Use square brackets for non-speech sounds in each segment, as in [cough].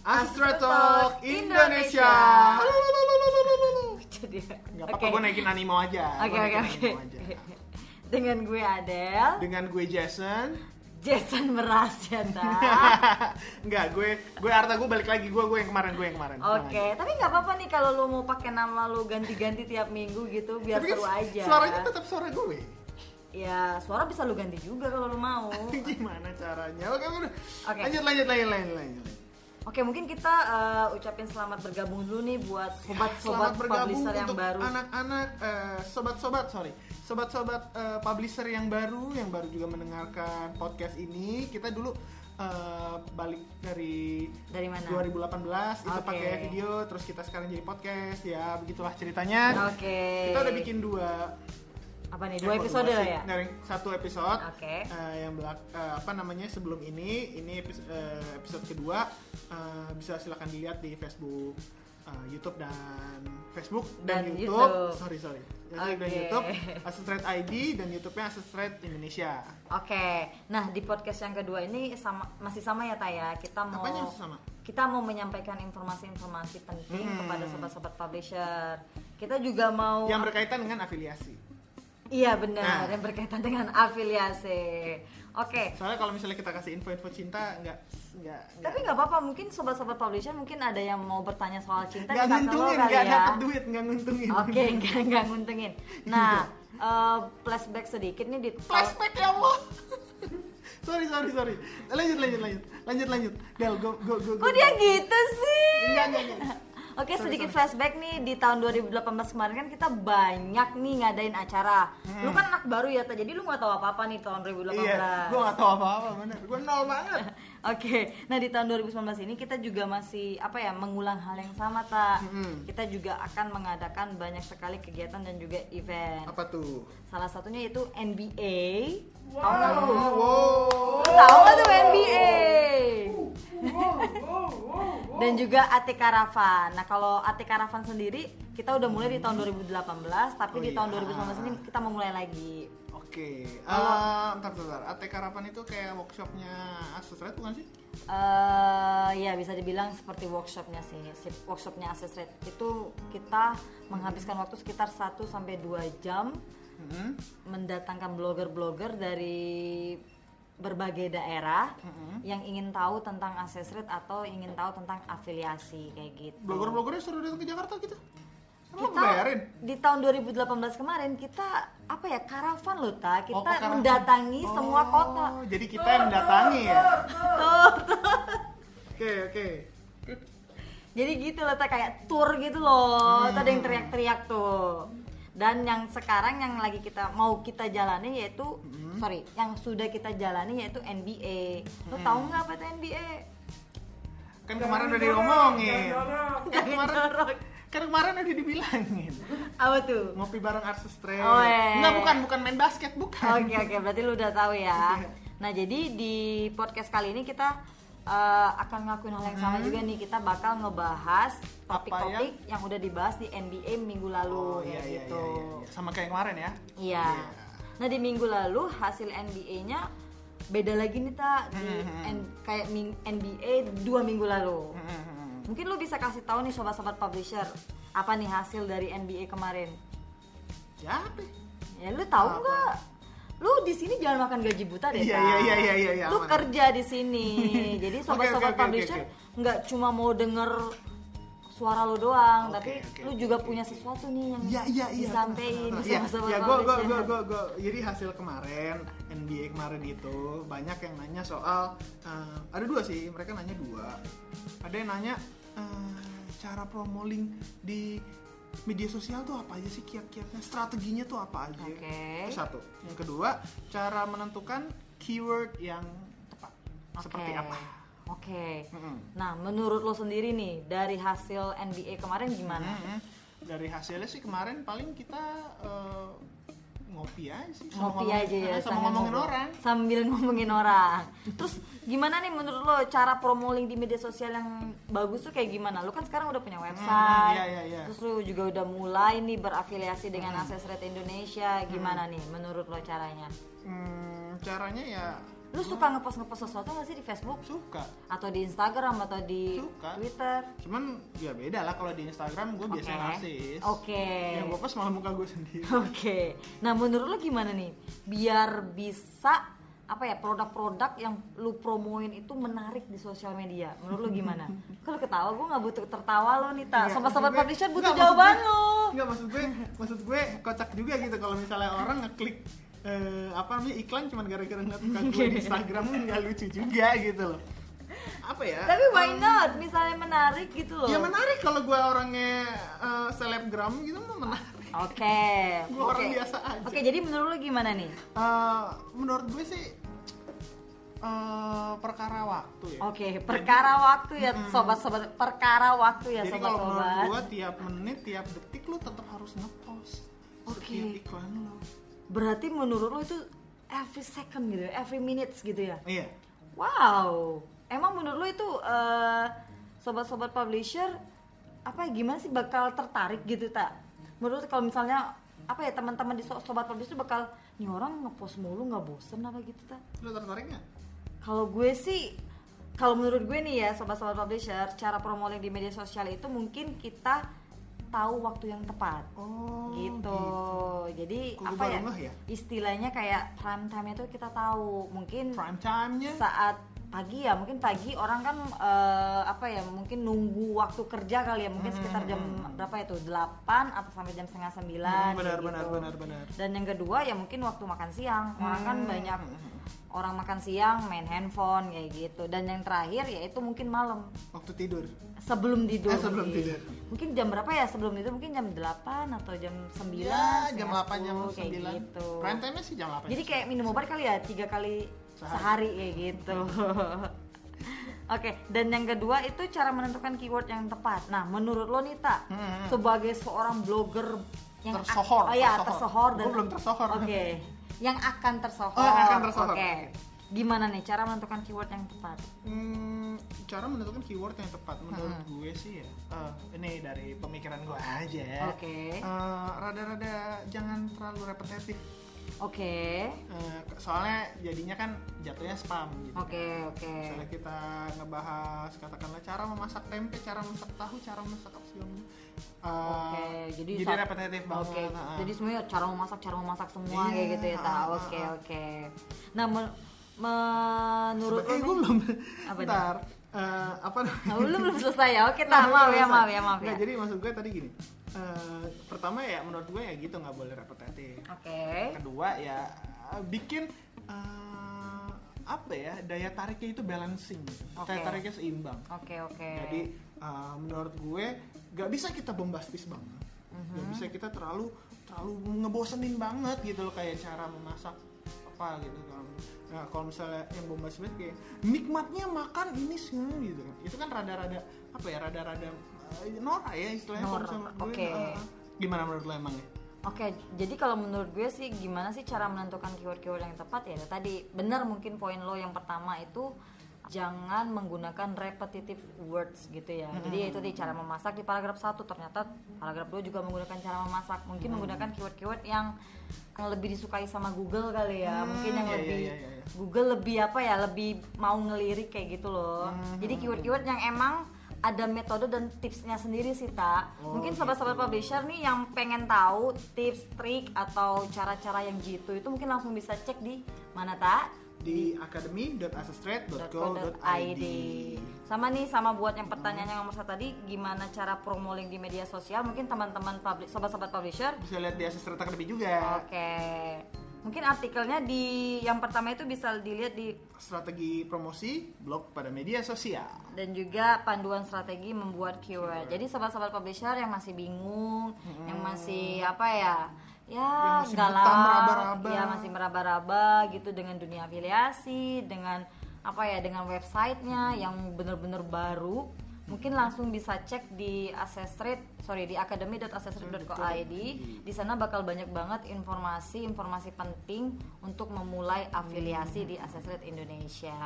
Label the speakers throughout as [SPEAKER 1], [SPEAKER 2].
[SPEAKER 1] Astra Talk Indonesia.
[SPEAKER 2] Jadi
[SPEAKER 1] Gak
[SPEAKER 2] oke.
[SPEAKER 1] Nah. apa-apa, gue naikin animo aja.
[SPEAKER 2] Oke
[SPEAKER 1] Gua
[SPEAKER 2] oke
[SPEAKER 1] naikin
[SPEAKER 2] oke.
[SPEAKER 1] animo aja.
[SPEAKER 2] [laughs] Dengan gue Adele,
[SPEAKER 1] Dengan gue Jason.
[SPEAKER 2] Jason Meras
[SPEAKER 1] [laughs]
[SPEAKER 2] ya Ta.
[SPEAKER 1] Iya.
[SPEAKER 2] Ah.
[SPEAKER 1] Enggak, gue gue Arta gue balik lagi gue gue yang kemarin gue yang kemarin.
[SPEAKER 2] Oke,
[SPEAKER 1] Tenang aja.
[SPEAKER 2] tapi nggak apa-apa nih kalau lu mau pakai nama lu ganti-ganti tiap minggu gitu biar
[SPEAKER 1] Tapi kan
[SPEAKER 2] seru aja.
[SPEAKER 1] Suaranya tetap suara gue. [laughs]
[SPEAKER 2] Ya, suara bisa lu ganti juga kalau lu mau.
[SPEAKER 1] Gimana caranya? Oke, oke. udah.
[SPEAKER 2] Oke.
[SPEAKER 1] Lanjut, lanjut, lanjut, lanjut, lanjut.
[SPEAKER 2] Oke, mungkin kita eh, ucapin selamat bergabung dulu nih buat sobat-sobat
[SPEAKER 1] Selamat bergabung
[SPEAKER 2] publisher yang
[SPEAKER 1] untuk
[SPEAKER 2] baru.
[SPEAKER 1] anak-anak eh, sobat-sobat sorry sobat-sobat eh, publisher yang baru yang baru juga mendengarkan podcast ini kita dulu eh, balik dari
[SPEAKER 2] Dari mana?
[SPEAKER 1] 2018 itu
[SPEAKER 2] Oke.
[SPEAKER 1] pakai video terus kita sekarang jadi podcast ya begitulah ceritanya
[SPEAKER 2] Oke.
[SPEAKER 1] kita udah bikin dua
[SPEAKER 2] apa
[SPEAKER 1] eh,
[SPEAKER 2] nih? Dua
[SPEAKER 1] kok
[SPEAKER 2] episode
[SPEAKER 1] dua
[SPEAKER 2] lah
[SPEAKER 1] sih?
[SPEAKER 2] ya?
[SPEAKER 1] Nggak, Ring. satu episode
[SPEAKER 2] Oke.
[SPEAKER 1] eh, yang belak eh, apa namanya sebelum ini ini episode, episode kedua eh, bisa silahkan dilihat di Facebook eh, YouTube dan Facebook dan,
[SPEAKER 2] Dan
[SPEAKER 1] YouTube.
[SPEAKER 2] YouTube.
[SPEAKER 1] sorry sorry YouTube dan
[SPEAKER 2] Oke.
[SPEAKER 1] YouTube Asestrade ID dan YouTube-nya Asestrade Indonesia
[SPEAKER 2] Oke, nah di podcast yang kedua ini sama, masih sama ya Taya. Kita mau
[SPEAKER 1] apanya yang sama
[SPEAKER 2] kita mau menyampaikan informasi-informasi penting
[SPEAKER 1] Hmm.
[SPEAKER 2] kepada sobat-sobat publisher. Kita juga mau
[SPEAKER 1] yang berkaitan dengan afiliasi
[SPEAKER 2] iya
[SPEAKER 1] Nah.
[SPEAKER 2] benar yang berkaitan dengan afiliasi. Oke,
[SPEAKER 1] soalnya kalau misalnya kita kasih info-info cinta nggak nggak nggak
[SPEAKER 2] tapi nggak apa-apa mungkin sobat-sobat publisher mungkin ada yang mau bertanya soal cinta
[SPEAKER 1] nggak
[SPEAKER 2] bisa ke lo
[SPEAKER 1] nguntungin
[SPEAKER 2] kali
[SPEAKER 1] nggak
[SPEAKER 2] ya.
[SPEAKER 1] dapet duit nggak nguntungin
[SPEAKER 2] Oke, nggak nggak nguntungin.
[SPEAKER 1] [laughs]
[SPEAKER 2] Nah, eh, flashback sedikit nih di
[SPEAKER 1] flashback ya Allah. [laughs] sorry sorry sorry. Lanjut lanjut lanjut lanjut lanjut. Del go go go. go.
[SPEAKER 2] Kok dia gitu sih?
[SPEAKER 1] Enggak enggak enggak.
[SPEAKER 2] [laughs] Oke
[SPEAKER 1] Sorry,
[SPEAKER 2] sedikit
[SPEAKER 1] sorry.
[SPEAKER 2] flashback nih di tahun 2018 kemarin kan kita banyak nih ngadain acara.
[SPEAKER 1] Hmm.
[SPEAKER 2] Lu kan anak baru ya, Ta, jadi lu nggak tahu apa apa nih tahun 2018.
[SPEAKER 1] Iya, gue gak tau apa-apa bener, gue nol banget
[SPEAKER 2] Oke, nah di tahun 2019 ini kita juga masih apa ya mengulang hal yang sama tak.
[SPEAKER 1] Mm-mm.
[SPEAKER 2] Kita juga akan mengadakan banyak sekali kegiatan dan juga event.
[SPEAKER 1] Apa tuh?
[SPEAKER 2] Salah satunya itu NBA. Wow.
[SPEAKER 1] Wow,
[SPEAKER 2] Tahun
[SPEAKER 1] Uh.
[SPEAKER 2] lalu.
[SPEAKER 1] wow.
[SPEAKER 2] Lu Tahu nggak tuh NBA? dan juga Ate Karavan. Nah, kalau Ate Karavan sendiri kita udah mulai di tahun 2018, tapi
[SPEAKER 1] Oh
[SPEAKER 2] di
[SPEAKER 1] iya.
[SPEAKER 2] tahun 2019 ini kita mau mulai lagi.
[SPEAKER 1] Oke, eh
[SPEAKER 2] Kalau-
[SPEAKER 1] bentar, bentar, bentar. ATK Karapan itu kayak workshopnya Asus Red bukan sih?
[SPEAKER 2] eh ya bisa dibilang seperti workshopnya sih. Si workshopnya Access Rate itu kita menghabiskan waktu sekitar 1 sampai 2 jam Mm-hmm.
[SPEAKER 1] Mm-mm.
[SPEAKER 2] mendatangkan blogger-blogger dari berbagai daerah yang ingin tahu tentang access rate atau ingin tahu tentang afiliasi kayak gitu.
[SPEAKER 1] Blogger-bloggernya suruh datang ke Jakarta gitu Emang lo
[SPEAKER 2] kita
[SPEAKER 1] bayarin?
[SPEAKER 2] di tahun 2018 kemarin kita apa ya karavan loh ta kita
[SPEAKER 1] Oh, kok karavan?
[SPEAKER 2] mendatangi semua
[SPEAKER 1] Oh,
[SPEAKER 2] kota
[SPEAKER 1] Jadi kita yang mendatangi ya?
[SPEAKER 2] tuh
[SPEAKER 1] Oke, oke
[SPEAKER 2] jadi gitu loh ta kayak tour gitu loh Tuh ada
[SPEAKER 1] Hmm.
[SPEAKER 2] yang teriak-teriak tuh dan yang sekarang yang lagi kita mau kita jalani yaitu
[SPEAKER 1] Hmm.
[SPEAKER 2] sorry yang sudah kita jalani yaitu NBA lo
[SPEAKER 1] Hmm.
[SPEAKER 2] tahu nggak apa itu NBA
[SPEAKER 1] Kan kemarin udah diomongin Kan
[SPEAKER 2] Jangan
[SPEAKER 1] kemarin,
[SPEAKER 2] jorok.
[SPEAKER 1] kan kemarin udah dibilangin
[SPEAKER 2] apa tuh
[SPEAKER 1] ngopi bareng Arsus Trade.
[SPEAKER 2] Oh, gitu. eh.
[SPEAKER 1] Enggak bukan, bukan main basket, bukan.
[SPEAKER 2] Oke oke berarti lu udah tahu
[SPEAKER 1] Iya.
[SPEAKER 2] ya. Nah jadi di podcast kali ini kita eh, akan ngakuin hal yang sama juga nih kita bakal ngebahas
[SPEAKER 1] Hmm. Apa ya?
[SPEAKER 2] topik-topik yang... udah dibahas di NBA minggu lalu
[SPEAKER 1] Oh,
[SPEAKER 2] kayak
[SPEAKER 1] iya, iya,
[SPEAKER 2] gitu.
[SPEAKER 1] iya, iya. Sama kayak kemarin ya.
[SPEAKER 2] Iya. Nah di minggu lalu hasil NBA-nya beda lagi nih tak
[SPEAKER 1] Hmm,
[SPEAKER 2] di N- kayak ming- NBA dua minggu lalu.
[SPEAKER 1] Hmm.
[SPEAKER 2] Mungkin lu bisa kasih tahu nih sobat-sobat publisher apa nih hasil dari NBA kemarin?
[SPEAKER 1] Ya, apa?
[SPEAKER 2] Ya lu tahu nggak? Lu di sini jangan makan gaji buta deh.
[SPEAKER 1] Iya,
[SPEAKER 2] Tan.
[SPEAKER 1] iya, iya, iya, iya, iya,
[SPEAKER 2] Lu
[SPEAKER 1] aman.
[SPEAKER 2] kerja di
[SPEAKER 1] [laughs]
[SPEAKER 2] sini. Jadi
[SPEAKER 1] Oke,
[SPEAKER 2] sobat-sobat
[SPEAKER 1] oke, oke,
[SPEAKER 2] publisher
[SPEAKER 1] oke,
[SPEAKER 2] nggak cuma mau denger suara lu doang,
[SPEAKER 1] Oke,
[SPEAKER 2] tapi
[SPEAKER 1] oke,
[SPEAKER 2] lu
[SPEAKER 1] oke,
[SPEAKER 2] juga
[SPEAKER 1] oke,
[SPEAKER 2] punya sesuatu nih yang
[SPEAKER 1] Iya, iya, iya.
[SPEAKER 2] disampaikan
[SPEAKER 1] Iya,
[SPEAKER 2] ke sobat-sobat
[SPEAKER 1] Ya, gua, gua,
[SPEAKER 2] publisher.
[SPEAKER 1] gua, gua, gua. Jadi hasil kemarin NBA kemarin itu banyak yang nanya soal eh, ada dua sih, mereka nanya dua. Ada yang nanya eh, cara promo link di media sosial tuh apa aja sih kiat-kiatnya, strateginya tuh apa aja?
[SPEAKER 2] Oke.
[SPEAKER 1] Itu satu. Yang kedua, cara menentukan keyword yang tepat.
[SPEAKER 2] Oke.
[SPEAKER 1] Seperti apa?
[SPEAKER 2] Oke.
[SPEAKER 1] Mm-mm.
[SPEAKER 2] Nah, menurut lo sendiri nih dari hasil NBA kemarin gimana?
[SPEAKER 1] Mm-mm. Dari hasilnya sih kemarin paling kita eh, ngopi aja sih. sama
[SPEAKER 2] ngopi
[SPEAKER 1] ngomongin-
[SPEAKER 2] aja ya
[SPEAKER 1] eh, sama
[SPEAKER 2] sambil
[SPEAKER 1] ngomongin
[SPEAKER 2] ngobrol.
[SPEAKER 1] orang.
[SPEAKER 2] sambil [laughs] ngomongin orang terus gimana nih menurut lo cara promo link di media sosial yang bagus tuh kayak gimana lo kan sekarang udah punya website
[SPEAKER 1] iya, iya, Hmm. iya.
[SPEAKER 2] terus lo juga udah mulai nih berafiliasi dengan akses rate Indonesia gimana nih menurut lo caranya
[SPEAKER 1] Hmm, Mm, caranya ya mm,
[SPEAKER 2] Lu suka ngepost ngepost sesuatu nggak sih di Facebook
[SPEAKER 1] suka
[SPEAKER 2] atau di Instagram atau di
[SPEAKER 1] Suka.
[SPEAKER 2] Twitter?
[SPEAKER 1] cuman ya beda lah kalau di Instagram gue biasanya
[SPEAKER 2] Oke.
[SPEAKER 1] narsis
[SPEAKER 2] Oke.
[SPEAKER 1] yang gue post malah muka gue sendiri
[SPEAKER 2] Oke. Nah, menurut lo gimana nih? Biar bisa apa ya produk-produk yang lu promoin itu menarik di sosial media. Menurut lu gimana?
[SPEAKER 1] [laughs]
[SPEAKER 2] Kalau ketawa gue nggak butuh tertawa lo nih, Ta.
[SPEAKER 1] Iya, maksud
[SPEAKER 2] Sobat-sobat
[SPEAKER 1] gue-
[SPEAKER 2] publisher butuh
[SPEAKER 1] enggak, maksud
[SPEAKER 2] jawaban
[SPEAKER 1] gue-
[SPEAKER 2] lo.
[SPEAKER 1] Enggak maksud gue, maksud gue kocak juga gitu kalau misalnya orang ngeklik eh, apa namanya iklan cuma gara-gara ngeliat muka gue
[SPEAKER 2] [laughs]
[SPEAKER 1] di Instagram nggak lucu juga gitu loh. Apa ya?
[SPEAKER 2] Tapi why
[SPEAKER 1] em,
[SPEAKER 2] not? Misalnya menarik gitu loh.
[SPEAKER 1] Ya menarik kalau gue orangnya eh, selebgram gitu mah menarik.
[SPEAKER 2] Oke.
[SPEAKER 1] Gue orang
[SPEAKER 2] Oke.
[SPEAKER 1] biasa aja.
[SPEAKER 2] Oke, jadi menurut lu gimana nih?
[SPEAKER 1] Eh, menurut gue sih eh, perkara waktu ya.
[SPEAKER 2] Oke, perkara waktu ya sobat-sobat, perkara waktu ya
[SPEAKER 1] Hmm. Jadi kalau menurut gue
[SPEAKER 2] sobat-sobat.
[SPEAKER 1] tiap menit, tiap detik lu tetap harus ngepost
[SPEAKER 2] Oke.
[SPEAKER 1] setiap iklan lo.
[SPEAKER 2] Berarti menurut lo itu every second gitu, ya, every minutes gitu ya.
[SPEAKER 1] Iya.
[SPEAKER 2] Wow, emang menurut lo itu eh, sobat-sobat publisher apa ya, gimana sih bakal tertarik gitu tak? Menurut kalau misalnya apa ya teman-teman di so- sobat publisher bakal nih orang ngepost mulu nggak bosen apa gitu tak?
[SPEAKER 1] Lu tertarik nggak?
[SPEAKER 2] Kalau gue sih, kalau menurut gue nih ya sobat-sobat publisher, cara promoling di media sosial itu mungkin kita tahu waktu yang tepat.
[SPEAKER 1] Oh.
[SPEAKER 2] gitu. Jadi
[SPEAKER 1] Kok gue
[SPEAKER 2] apa
[SPEAKER 1] baru
[SPEAKER 2] ya,
[SPEAKER 1] ngeh ya?
[SPEAKER 2] Istilahnya kayak prime time itu kita tahu. Mungkin
[SPEAKER 1] gitu. prime time-nya
[SPEAKER 2] saat pagi ya mungkin pagi orang kan eh, apa ya mungkin nunggu waktu kerja kali ya mungkin sekitar jam berapa itu 8 atau sampai jam setengah
[SPEAKER 1] Hmm,
[SPEAKER 2] sembilan kayak
[SPEAKER 1] benar,
[SPEAKER 2] gitu.
[SPEAKER 1] benar, benar, benar.
[SPEAKER 2] dan yang kedua ya mungkin waktu makan siang orang kan
[SPEAKER 1] Hmm.
[SPEAKER 2] banyak orang makan siang main handphone kayak gitu dan yang terakhir yaitu mungkin malam
[SPEAKER 1] waktu tidur
[SPEAKER 2] sebelum tidur
[SPEAKER 1] Eh, sebelum
[SPEAKER 2] mungkin.
[SPEAKER 1] tidur.
[SPEAKER 2] mungkin jam berapa ya sebelum itu mungkin jam 8 atau jam 9
[SPEAKER 1] ya, jam 8 jam 9
[SPEAKER 2] kayak gitu
[SPEAKER 1] prime time-nya sih jam 8
[SPEAKER 2] jadi kayak minum obat kali ya tiga kali sehari, kayak gitu. [laughs] Oke, dan yang kedua itu cara menentukan keyword yang tepat. Nah, menurut lo nih tak
[SPEAKER 1] Hmm, hmm.
[SPEAKER 2] sebagai seorang blogger yang ak-
[SPEAKER 1] Tersohor,
[SPEAKER 2] oh ya
[SPEAKER 1] tersohor.
[SPEAKER 2] tersohor dan
[SPEAKER 1] Gua belum tersohor.
[SPEAKER 2] Oke, yang akan
[SPEAKER 1] Oh,
[SPEAKER 2] tersohor.
[SPEAKER 1] yang akan tersohor.
[SPEAKER 2] Oke, gimana nih cara menentukan keyword yang tepat?
[SPEAKER 1] Hmm, cara menentukan keyword yang tepat menurut
[SPEAKER 2] Hmm.
[SPEAKER 1] gue sih ya eh, ini dari pemikiran gue aja
[SPEAKER 2] Oke.
[SPEAKER 1] Eh, rada-rada jangan terlalu repetitif
[SPEAKER 2] Oke,
[SPEAKER 1] Eh, soalnya jadinya kan jatuhnya spam gitu
[SPEAKER 2] oke, oke.
[SPEAKER 1] misalnya kita ngebahas katakanlah cara memasak tempe cara masak tahu cara masak apa segala macam. Eh,
[SPEAKER 2] Oke, jadi
[SPEAKER 1] jadi
[SPEAKER 2] saat-
[SPEAKER 1] repetitif banget
[SPEAKER 2] Oke,
[SPEAKER 1] ah.
[SPEAKER 2] jadi semuanya cara memasak, cara memasak semua
[SPEAKER 1] Iya,
[SPEAKER 2] kayak gitu ya, tak?
[SPEAKER 1] ah, ah,
[SPEAKER 2] Oke,
[SPEAKER 1] ah.
[SPEAKER 2] oke. Nah, men- menurut
[SPEAKER 1] eh gue
[SPEAKER 2] lo nih-
[SPEAKER 1] [laughs] belum
[SPEAKER 2] Apa
[SPEAKER 1] ntar Eh, apa namanya?
[SPEAKER 2] Nah, lu belum selesai ya? Oke,
[SPEAKER 1] Nah,
[SPEAKER 2] tak maaf ya,
[SPEAKER 1] selesai.
[SPEAKER 2] maaf ya, maaf ya.
[SPEAKER 1] Nggak, jadi maksud gue tadi gini Eh, pertama ya menurut gue ya gitu nggak boleh repetitif
[SPEAKER 2] Oke.
[SPEAKER 1] kedua ya eh, bikin eh, apa ya daya tariknya itu balancing
[SPEAKER 2] Oke.
[SPEAKER 1] daya tariknya seimbang
[SPEAKER 2] Oke, oke.
[SPEAKER 1] jadi eh, menurut gue nggak bisa kita bombastis banget nggak
[SPEAKER 2] Mhm.
[SPEAKER 1] bisa kita terlalu terlalu ngebosenin banget gitu loh kayak cara memasak apa gitu kan nah kalau misalnya yang bombastis banget kayak nikmatnya makan ini sih gitu kan itu kan rada-rada apa ya rada-rada eh, norak ya istilahnya kalau
[SPEAKER 2] Norak,
[SPEAKER 1] misalnya menurut gue,
[SPEAKER 2] oke.
[SPEAKER 1] eh, gimana menurut lo emang ya
[SPEAKER 2] Oke, jadi kalau menurut gue sih gimana sih cara menentukan keyword-keyword yang tepat ya? Tadi benar mungkin poin lo yang pertama itu jangan menggunakan repetitive words gitu ya. Jadi
[SPEAKER 1] Hmm.
[SPEAKER 2] itu di cara memasak di paragraf 1 ternyata paragraf 2 juga menggunakan cara memasak. Mungkin
[SPEAKER 1] Hmm.
[SPEAKER 2] menggunakan keyword-keyword yang yang lebih disukai sama Google kali ya.
[SPEAKER 1] Hmm,
[SPEAKER 2] mungkin yang
[SPEAKER 1] iya, iya,
[SPEAKER 2] lebih
[SPEAKER 1] iya, iya.
[SPEAKER 2] Google lebih apa ya? Lebih mau ngelirik kayak gitu loh.
[SPEAKER 1] Hmm,
[SPEAKER 2] Jadi keyword-keyword yang emang ada metode dan tipsnya sendiri sih tak.
[SPEAKER 1] Oh,
[SPEAKER 2] mungkin
[SPEAKER 1] gitu.
[SPEAKER 2] sobat-sobat publisher nih yang pengen tahu tips, trik atau cara-cara yang jitu itu mungkin langsung bisa cek di mana tak
[SPEAKER 1] di academy.asestrate.co.id
[SPEAKER 2] .co.id. Sama nih sama buat yang pertanyaan yang nomor satu tadi gimana cara promo link di media sosial mungkin teman-teman publi- sobat-sobat publisher
[SPEAKER 1] bisa lihat di Asestrate Academy juga
[SPEAKER 2] Oke. Mungkin artikelnya di yang pertama itu bisa dilihat di
[SPEAKER 1] strategi promosi blog pada media sosial
[SPEAKER 2] dan juga panduan strategi membuat keyword. Jadi sobat-sobat publisher yang masih bingung, yang masih apa ya? Ya,
[SPEAKER 1] Hmm. Yang masih
[SPEAKER 2] galau,
[SPEAKER 1] buta, meraba-raba.
[SPEAKER 2] ya masih meraba-raba gitu dengan dunia afiliasi, dengan apa ya, dengan websitenya yang bener-bener baru. Mungkin langsung bisa cek di Accessrate, sorry di academy.accessrate.co.id. Di sana bakal banyak banget informasi-informasi penting untuk memulai afiliasi di Accessrate Indonesia.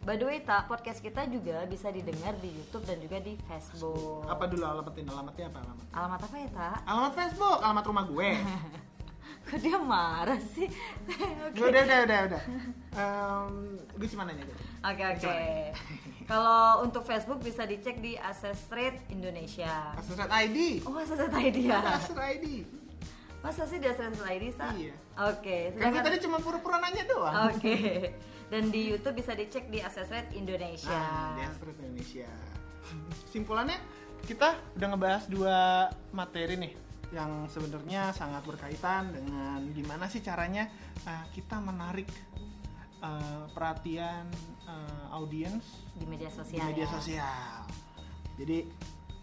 [SPEAKER 2] By the way, tak podcast kita juga bisa didengar di YouTube dan juga di Facebook.
[SPEAKER 1] apa dulu alamatnya alamatnya apa alamat
[SPEAKER 2] Alamat apa ya, tak?
[SPEAKER 1] alamat Facebook alamat rumah gue
[SPEAKER 2] [laughs] Kok dia marah sih?
[SPEAKER 1] Udah, udah, udah, udah, udah. Em, gue cuma nanya aja.
[SPEAKER 2] Oke oke.
[SPEAKER 1] [laughs]
[SPEAKER 2] Kalau untuk Facebook bisa dicek di Access Rate Indonesia.
[SPEAKER 1] Asesrat ID.
[SPEAKER 2] Oh, Access Rate ID
[SPEAKER 1] [laughs]
[SPEAKER 2] ya.
[SPEAKER 1] Asesrat ID.
[SPEAKER 2] Masa sih di Access Rate ID, Sa?
[SPEAKER 1] Iya. Kan
[SPEAKER 2] Oke,
[SPEAKER 1] gue
[SPEAKER 2] sedangkan-
[SPEAKER 1] tadi cuma pura-pura nanya doang.
[SPEAKER 2] Oke. Dan di YouTube bisa dicek di Access Rate Indonesia.
[SPEAKER 1] Nah, di Astro Indonesia. Simpulannya kita udah ngebahas dua materi nih yang sebenarnya sangat berkaitan dengan gimana sih caranya eh, kita menarik eh, perhatian eh, audiens
[SPEAKER 2] di media sosial.
[SPEAKER 1] di media
[SPEAKER 2] ya.
[SPEAKER 1] sosial. Jadi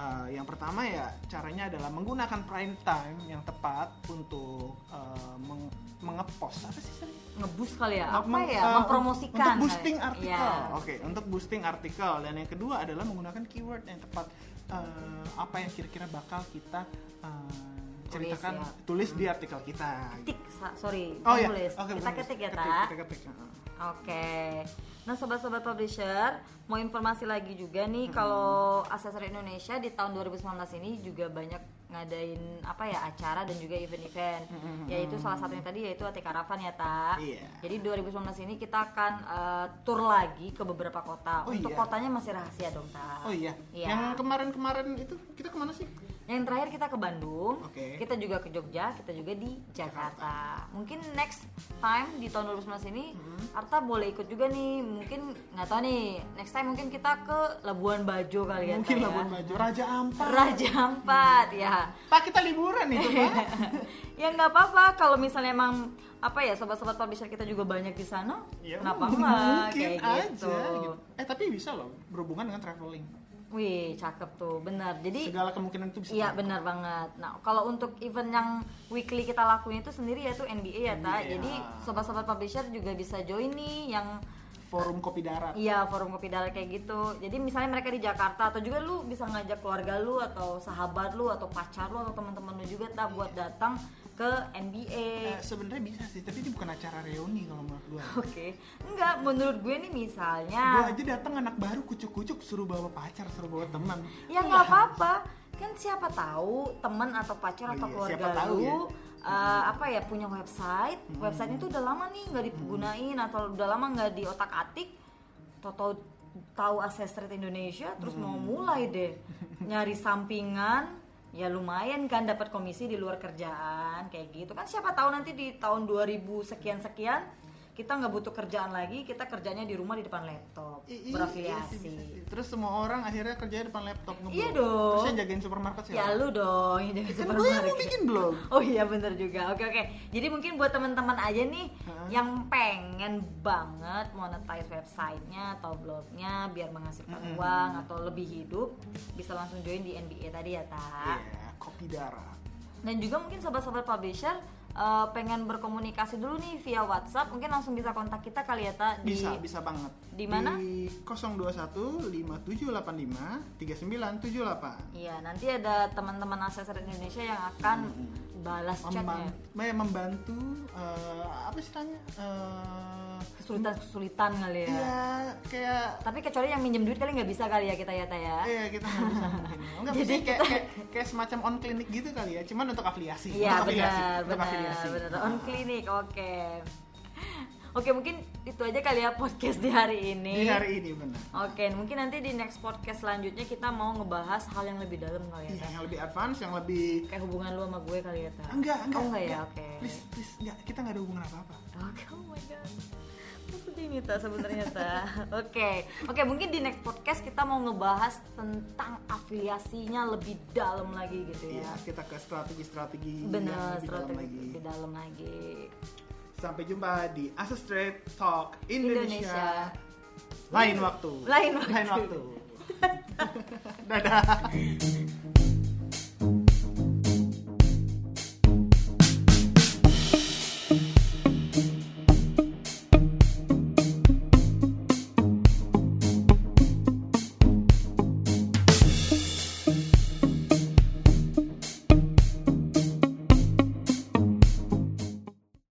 [SPEAKER 1] eh, yang pertama ya caranya adalah menggunakan prime time yang tepat untuk eh, meng- mengepost apa sih tadi?
[SPEAKER 2] Ngebus kali ya. Apa
[SPEAKER 1] Mem-
[SPEAKER 2] ya?
[SPEAKER 1] eh,
[SPEAKER 2] Mempromosikan.
[SPEAKER 1] untuk boosting
[SPEAKER 2] kali.
[SPEAKER 1] artikel.
[SPEAKER 2] Iya.
[SPEAKER 1] Oke, untuk boosting artikel dan yang kedua adalah menggunakan keyword yang tepat eh, apa yang kira-kira bakal kita eh, ceritakan
[SPEAKER 2] ya.
[SPEAKER 1] tulis, di artikel kita.
[SPEAKER 2] Ketik, Sa- sorry.
[SPEAKER 1] Oh ya,
[SPEAKER 2] Menulis. Kita ketik ya, Ta.
[SPEAKER 1] Kita ketik. heeh.
[SPEAKER 2] Oke. Nah, sobat-sobat publisher, mau informasi lagi juga
[SPEAKER 1] Hmm.
[SPEAKER 2] nih kalau Asesor Indonesia di tahun 2019 ini juga banyak ngadain apa ya acara dan juga event-event.
[SPEAKER 1] Hmm,
[SPEAKER 2] Yaitu salah satunya tadi yaitu AT Karavan ya, Ta.
[SPEAKER 1] Iya.
[SPEAKER 2] Jadi 2019 ini kita akan eh, tur lagi ke beberapa kota.
[SPEAKER 1] Oh,
[SPEAKER 2] Untuk
[SPEAKER 1] iya.
[SPEAKER 2] kotanya masih rahasia dong, Ta.
[SPEAKER 1] Oh iya,
[SPEAKER 2] Iya.
[SPEAKER 1] yang kemarin-kemarin itu kita kemana sih?
[SPEAKER 2] Yang terakhir kita ke Bandung,
[SPEAKER 1] Oke.
[SPEAKER 2] kita juga ke Jogja, kita juga di Jakarta. Mungkin next time di tahun 2019 ini
[SPEAKER 1] Hmm.
[SPEAKER 2] Arta boleh ikut juga nih. Mungkin nggak tahu nih, next time mungkin kita ke Labuan Bajo kali ya.
[SPEAKER 1] Mungkin
[SPEAKER 2] Tay, ya.
[SPEAKER 1] Labuan Bajo, Raja Ampat.
[SPEAKER 2] Raja Ampat ya. [laughs]
[SPEAKER 1] Pak kita liburan itu Pak.
[SPEAKER 2] ya nggak apa-apa kalau misalnya emang apa ya sobat-sobat publisher kita juga banyak di sana.
[SPEAKER 1] Ya, [laughs]
[SPEAKER 2] kenapa
[SPEAKER 1] mungkin
[SPEAKER 2] enggak kayak
[SPEAKER 1] aja.
[SPEAKER 2] gitu.
[SPEAKER 1] gitu. Eh tapi bisa loh berhubungan dengan traveling.
[SPEAKER 2] Wih, cakep tuh. Benar. Jadi
[SPEAKER 1] Segala kemungkinan itu bisa.
[SPEAKER 2] Iya benar banget. Nah kalau untuk event yang weekly kita lakuin itu sendiri yaitu NBA ya ta.
[SPEAKER 1] NBA.
[SPEAKER 2] Jadi sobat-sobat publisher juga bisa join nih yang
[SPEAKER 1] Forum Kopi Darat.
[SPEAKER 2] iya forum kopi darat kayak gitu. Jadi misalnya mereka di Jakarta atau juga lu bisa ngajak keluarga lu atau sahabat lu atau pacar lu atau teman-teman lu juga ta buat datang ke NBA.
[SPEAKER 1] Iya. Eh, sebenarnya bisa sih tapi ini bukan acara reuni kalau menurut gue
[SPEAKER 2] Oke, enggak menurut gue nih
[SPEAKER 1] gue
[SPEAKER 2] misalnya
[SPEAKER 1] aja datang anak baru kucuk-kucuk suruh bawa pacar suruh bawa teman
[SPEAKER 2] ya nggak apa-apa kan siapa tahu teman atau pacar
[SPEAKER 1] Oh
[SPEAKER 2] atau
[SPEAKER 1] iya,
[SPEAKER 2] keluarga
[SPEAKER 1] siapa tahu
[SPEAKER 2] lu
[SPEAKER 1] ya. Hmm.
[SPEAKER 2] eh, apa ya punya website website itu udah lama nih nggak digunain atau udah lama nggak di otak atik tahu tahu akses street Indonesia terus mau
[SPEAKER 1] Hmm.
[SPEAKER 2] mulai deh nyari sampingan ya lumayan kan dapat komisi di luar kerjaan kayak gitu kan siapa tahu nanti di tahun 2000 sekian sekian kita nggak butuh kerjaan lagi kita kerjanya di rumah di depan laptop
[SPEAKER 1] I- i-
[SPEAKER 2] berafiliasi
[SPEAKER 1] iya sih, bisa sih. terus semua orang akhirnya kerja depan laptop ngeblog
[SPEAKER 2] Iya dong.
[SPEAKER 1] terus yang jagain supermarket siapa
[SPEAKER 2] Ya lu dong yang jadi
[SPEAKER 1] kan gue yang mau
[SPEAKER 2] supermarket.
[SPEAKER 1] bikin blog
[SPEAKER 2] Oh iya bener juga. Oke oke. Jadi mungkin buat teman-teman aja nih
[SPEAKER 1] Hah?
[SPEAKER 2] yang pengen banget monetize websitenya atau blognya biar menghasilkan
[SPEAKER 1] Mm-mm.
[SPEAKER 2] uang atau lebih hidup bisa langsung join di NBA tadi ya ta.
[SPEAKER 1] Iya, kopi darat
[SPEAKER 2] Dan juga mungkin sobat-sobat publisher eh, pengen berkomunikasi dulu nih via WhatsApp mungkin langsung bisa kontak kita kali ya ta di
[SPEAKER 1] bisa bisa banget
[SPEAKER 2] di mana?
[SPEAKER 1] di 021 5785 3978
[SPEAKER 2] Iya, nanti ada teman-teman asesor Indonesia yang akan balas chatnya.
[SPEAKER 1] Membantu, membantu eh, apa sih tanya
[SPEAKER 2] Kesulitan-kesulitan kali ya.
[SPEAKER 1] Iya, kayak
[SPEAKER 2] Tapi kecuali yang minjem duit kali nggak bisa kali ya kita ya Taya.
[SPEAKER 1] Iya kita nggak bisa
[SPEAKER 2] [laughs]
[SPEAKER 1] mungkin. Enggak
[SPEAKER 2] Jadi
[SPEAKER 1] maksudnya kayak,
[SPEAKER 2] kita-
[SPEAKER 1] kayak kayak semacam on klinik gitu kali ya. Cuman untuk afiliasi.
[SPEAKER 2] Iya
[SPEAKER 1] untuk afiliasi,
[SPEAKER 2] benar,
[SPEAKER 1] untuk
[SPEAKER 2] benar,
[SPEAKER 1] afiliasi.
[SPEAKER 2] benar. On klinik, oke. Oke mungkin itu aja kali ya podcast di hari
[SPEAKER 1] Di
[SPEAKER 2] ini.
[SPEAKER 1] hari ini benar.
[SPEAKER 2] Oke, mungkin nanti di next podcast selanjutnya kita mau ngebahas hal yang lebih dalam kali ya.
[SPEAKER 1] Iya,
[SPEAKER 2] Taya.
[SPEAKER 1] yang lebih advance, yang lebih
[SPEAKER 2] Kayak hubungan lu sama gue kali ya, Ta.
[SPEAKER 1] enggak, enggak.
[SPEAKER 2] Oh, enggak ya,
[SPEAKER 1] enggak.
[SPEAKER 2] oke.
[SPEAKER 1] Please, please, enggak, kita enggak ada hubungan apa-apa.
[SPEAKER 2] Oke, oh my god. Aku sedih nih ta sebenarnya ta. [laughs] Oke, oke mungkin di next podcast kita mau ngebahas tentang afiliasinya lebih dalam lagi gitu
[SPEAKER 1] Iya,
[SPEAKER 2] ya.
[SPEAKER 1] kita ke strategi-strategi yang
[SPEAKER 2] Bener,
[SPEAKER 1] Iya, lebih dalam
[SPEAKER 2] strategi
[SPEAKER 1] lagi.
[SPEAKER 2] lebih dalam lagi.
[SPEAKER 1] Sampai jumpa di Asus Trade Talk
[SPEAKER 2] Indonesia.
[SPEAKER 1] Indonesia. Lain waktu.
[SPEAKER 2] [laughs] Lain waktu.
[SPEAKER 1] Lain waktu. Dadah.